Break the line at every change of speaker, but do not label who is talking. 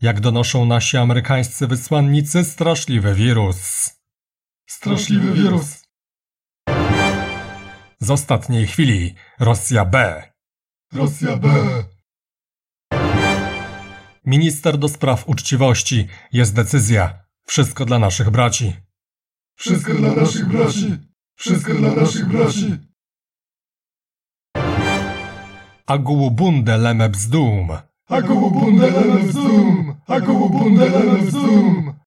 jak donoszą nasi amerykańscy wysłannicy, straszliwy wirus. Straszliwy wirus. Z ostatniej chwili Rosja B. Rosja B. Minister do spraw uczciwości jest decyzja. Wszystko dla naszych braci.
Wszystko dla naszych braci. Wszystko dla naszych braci.
Agułbunde leme bzdum.
Agubundelem wzdum! Agubundelem wzdum!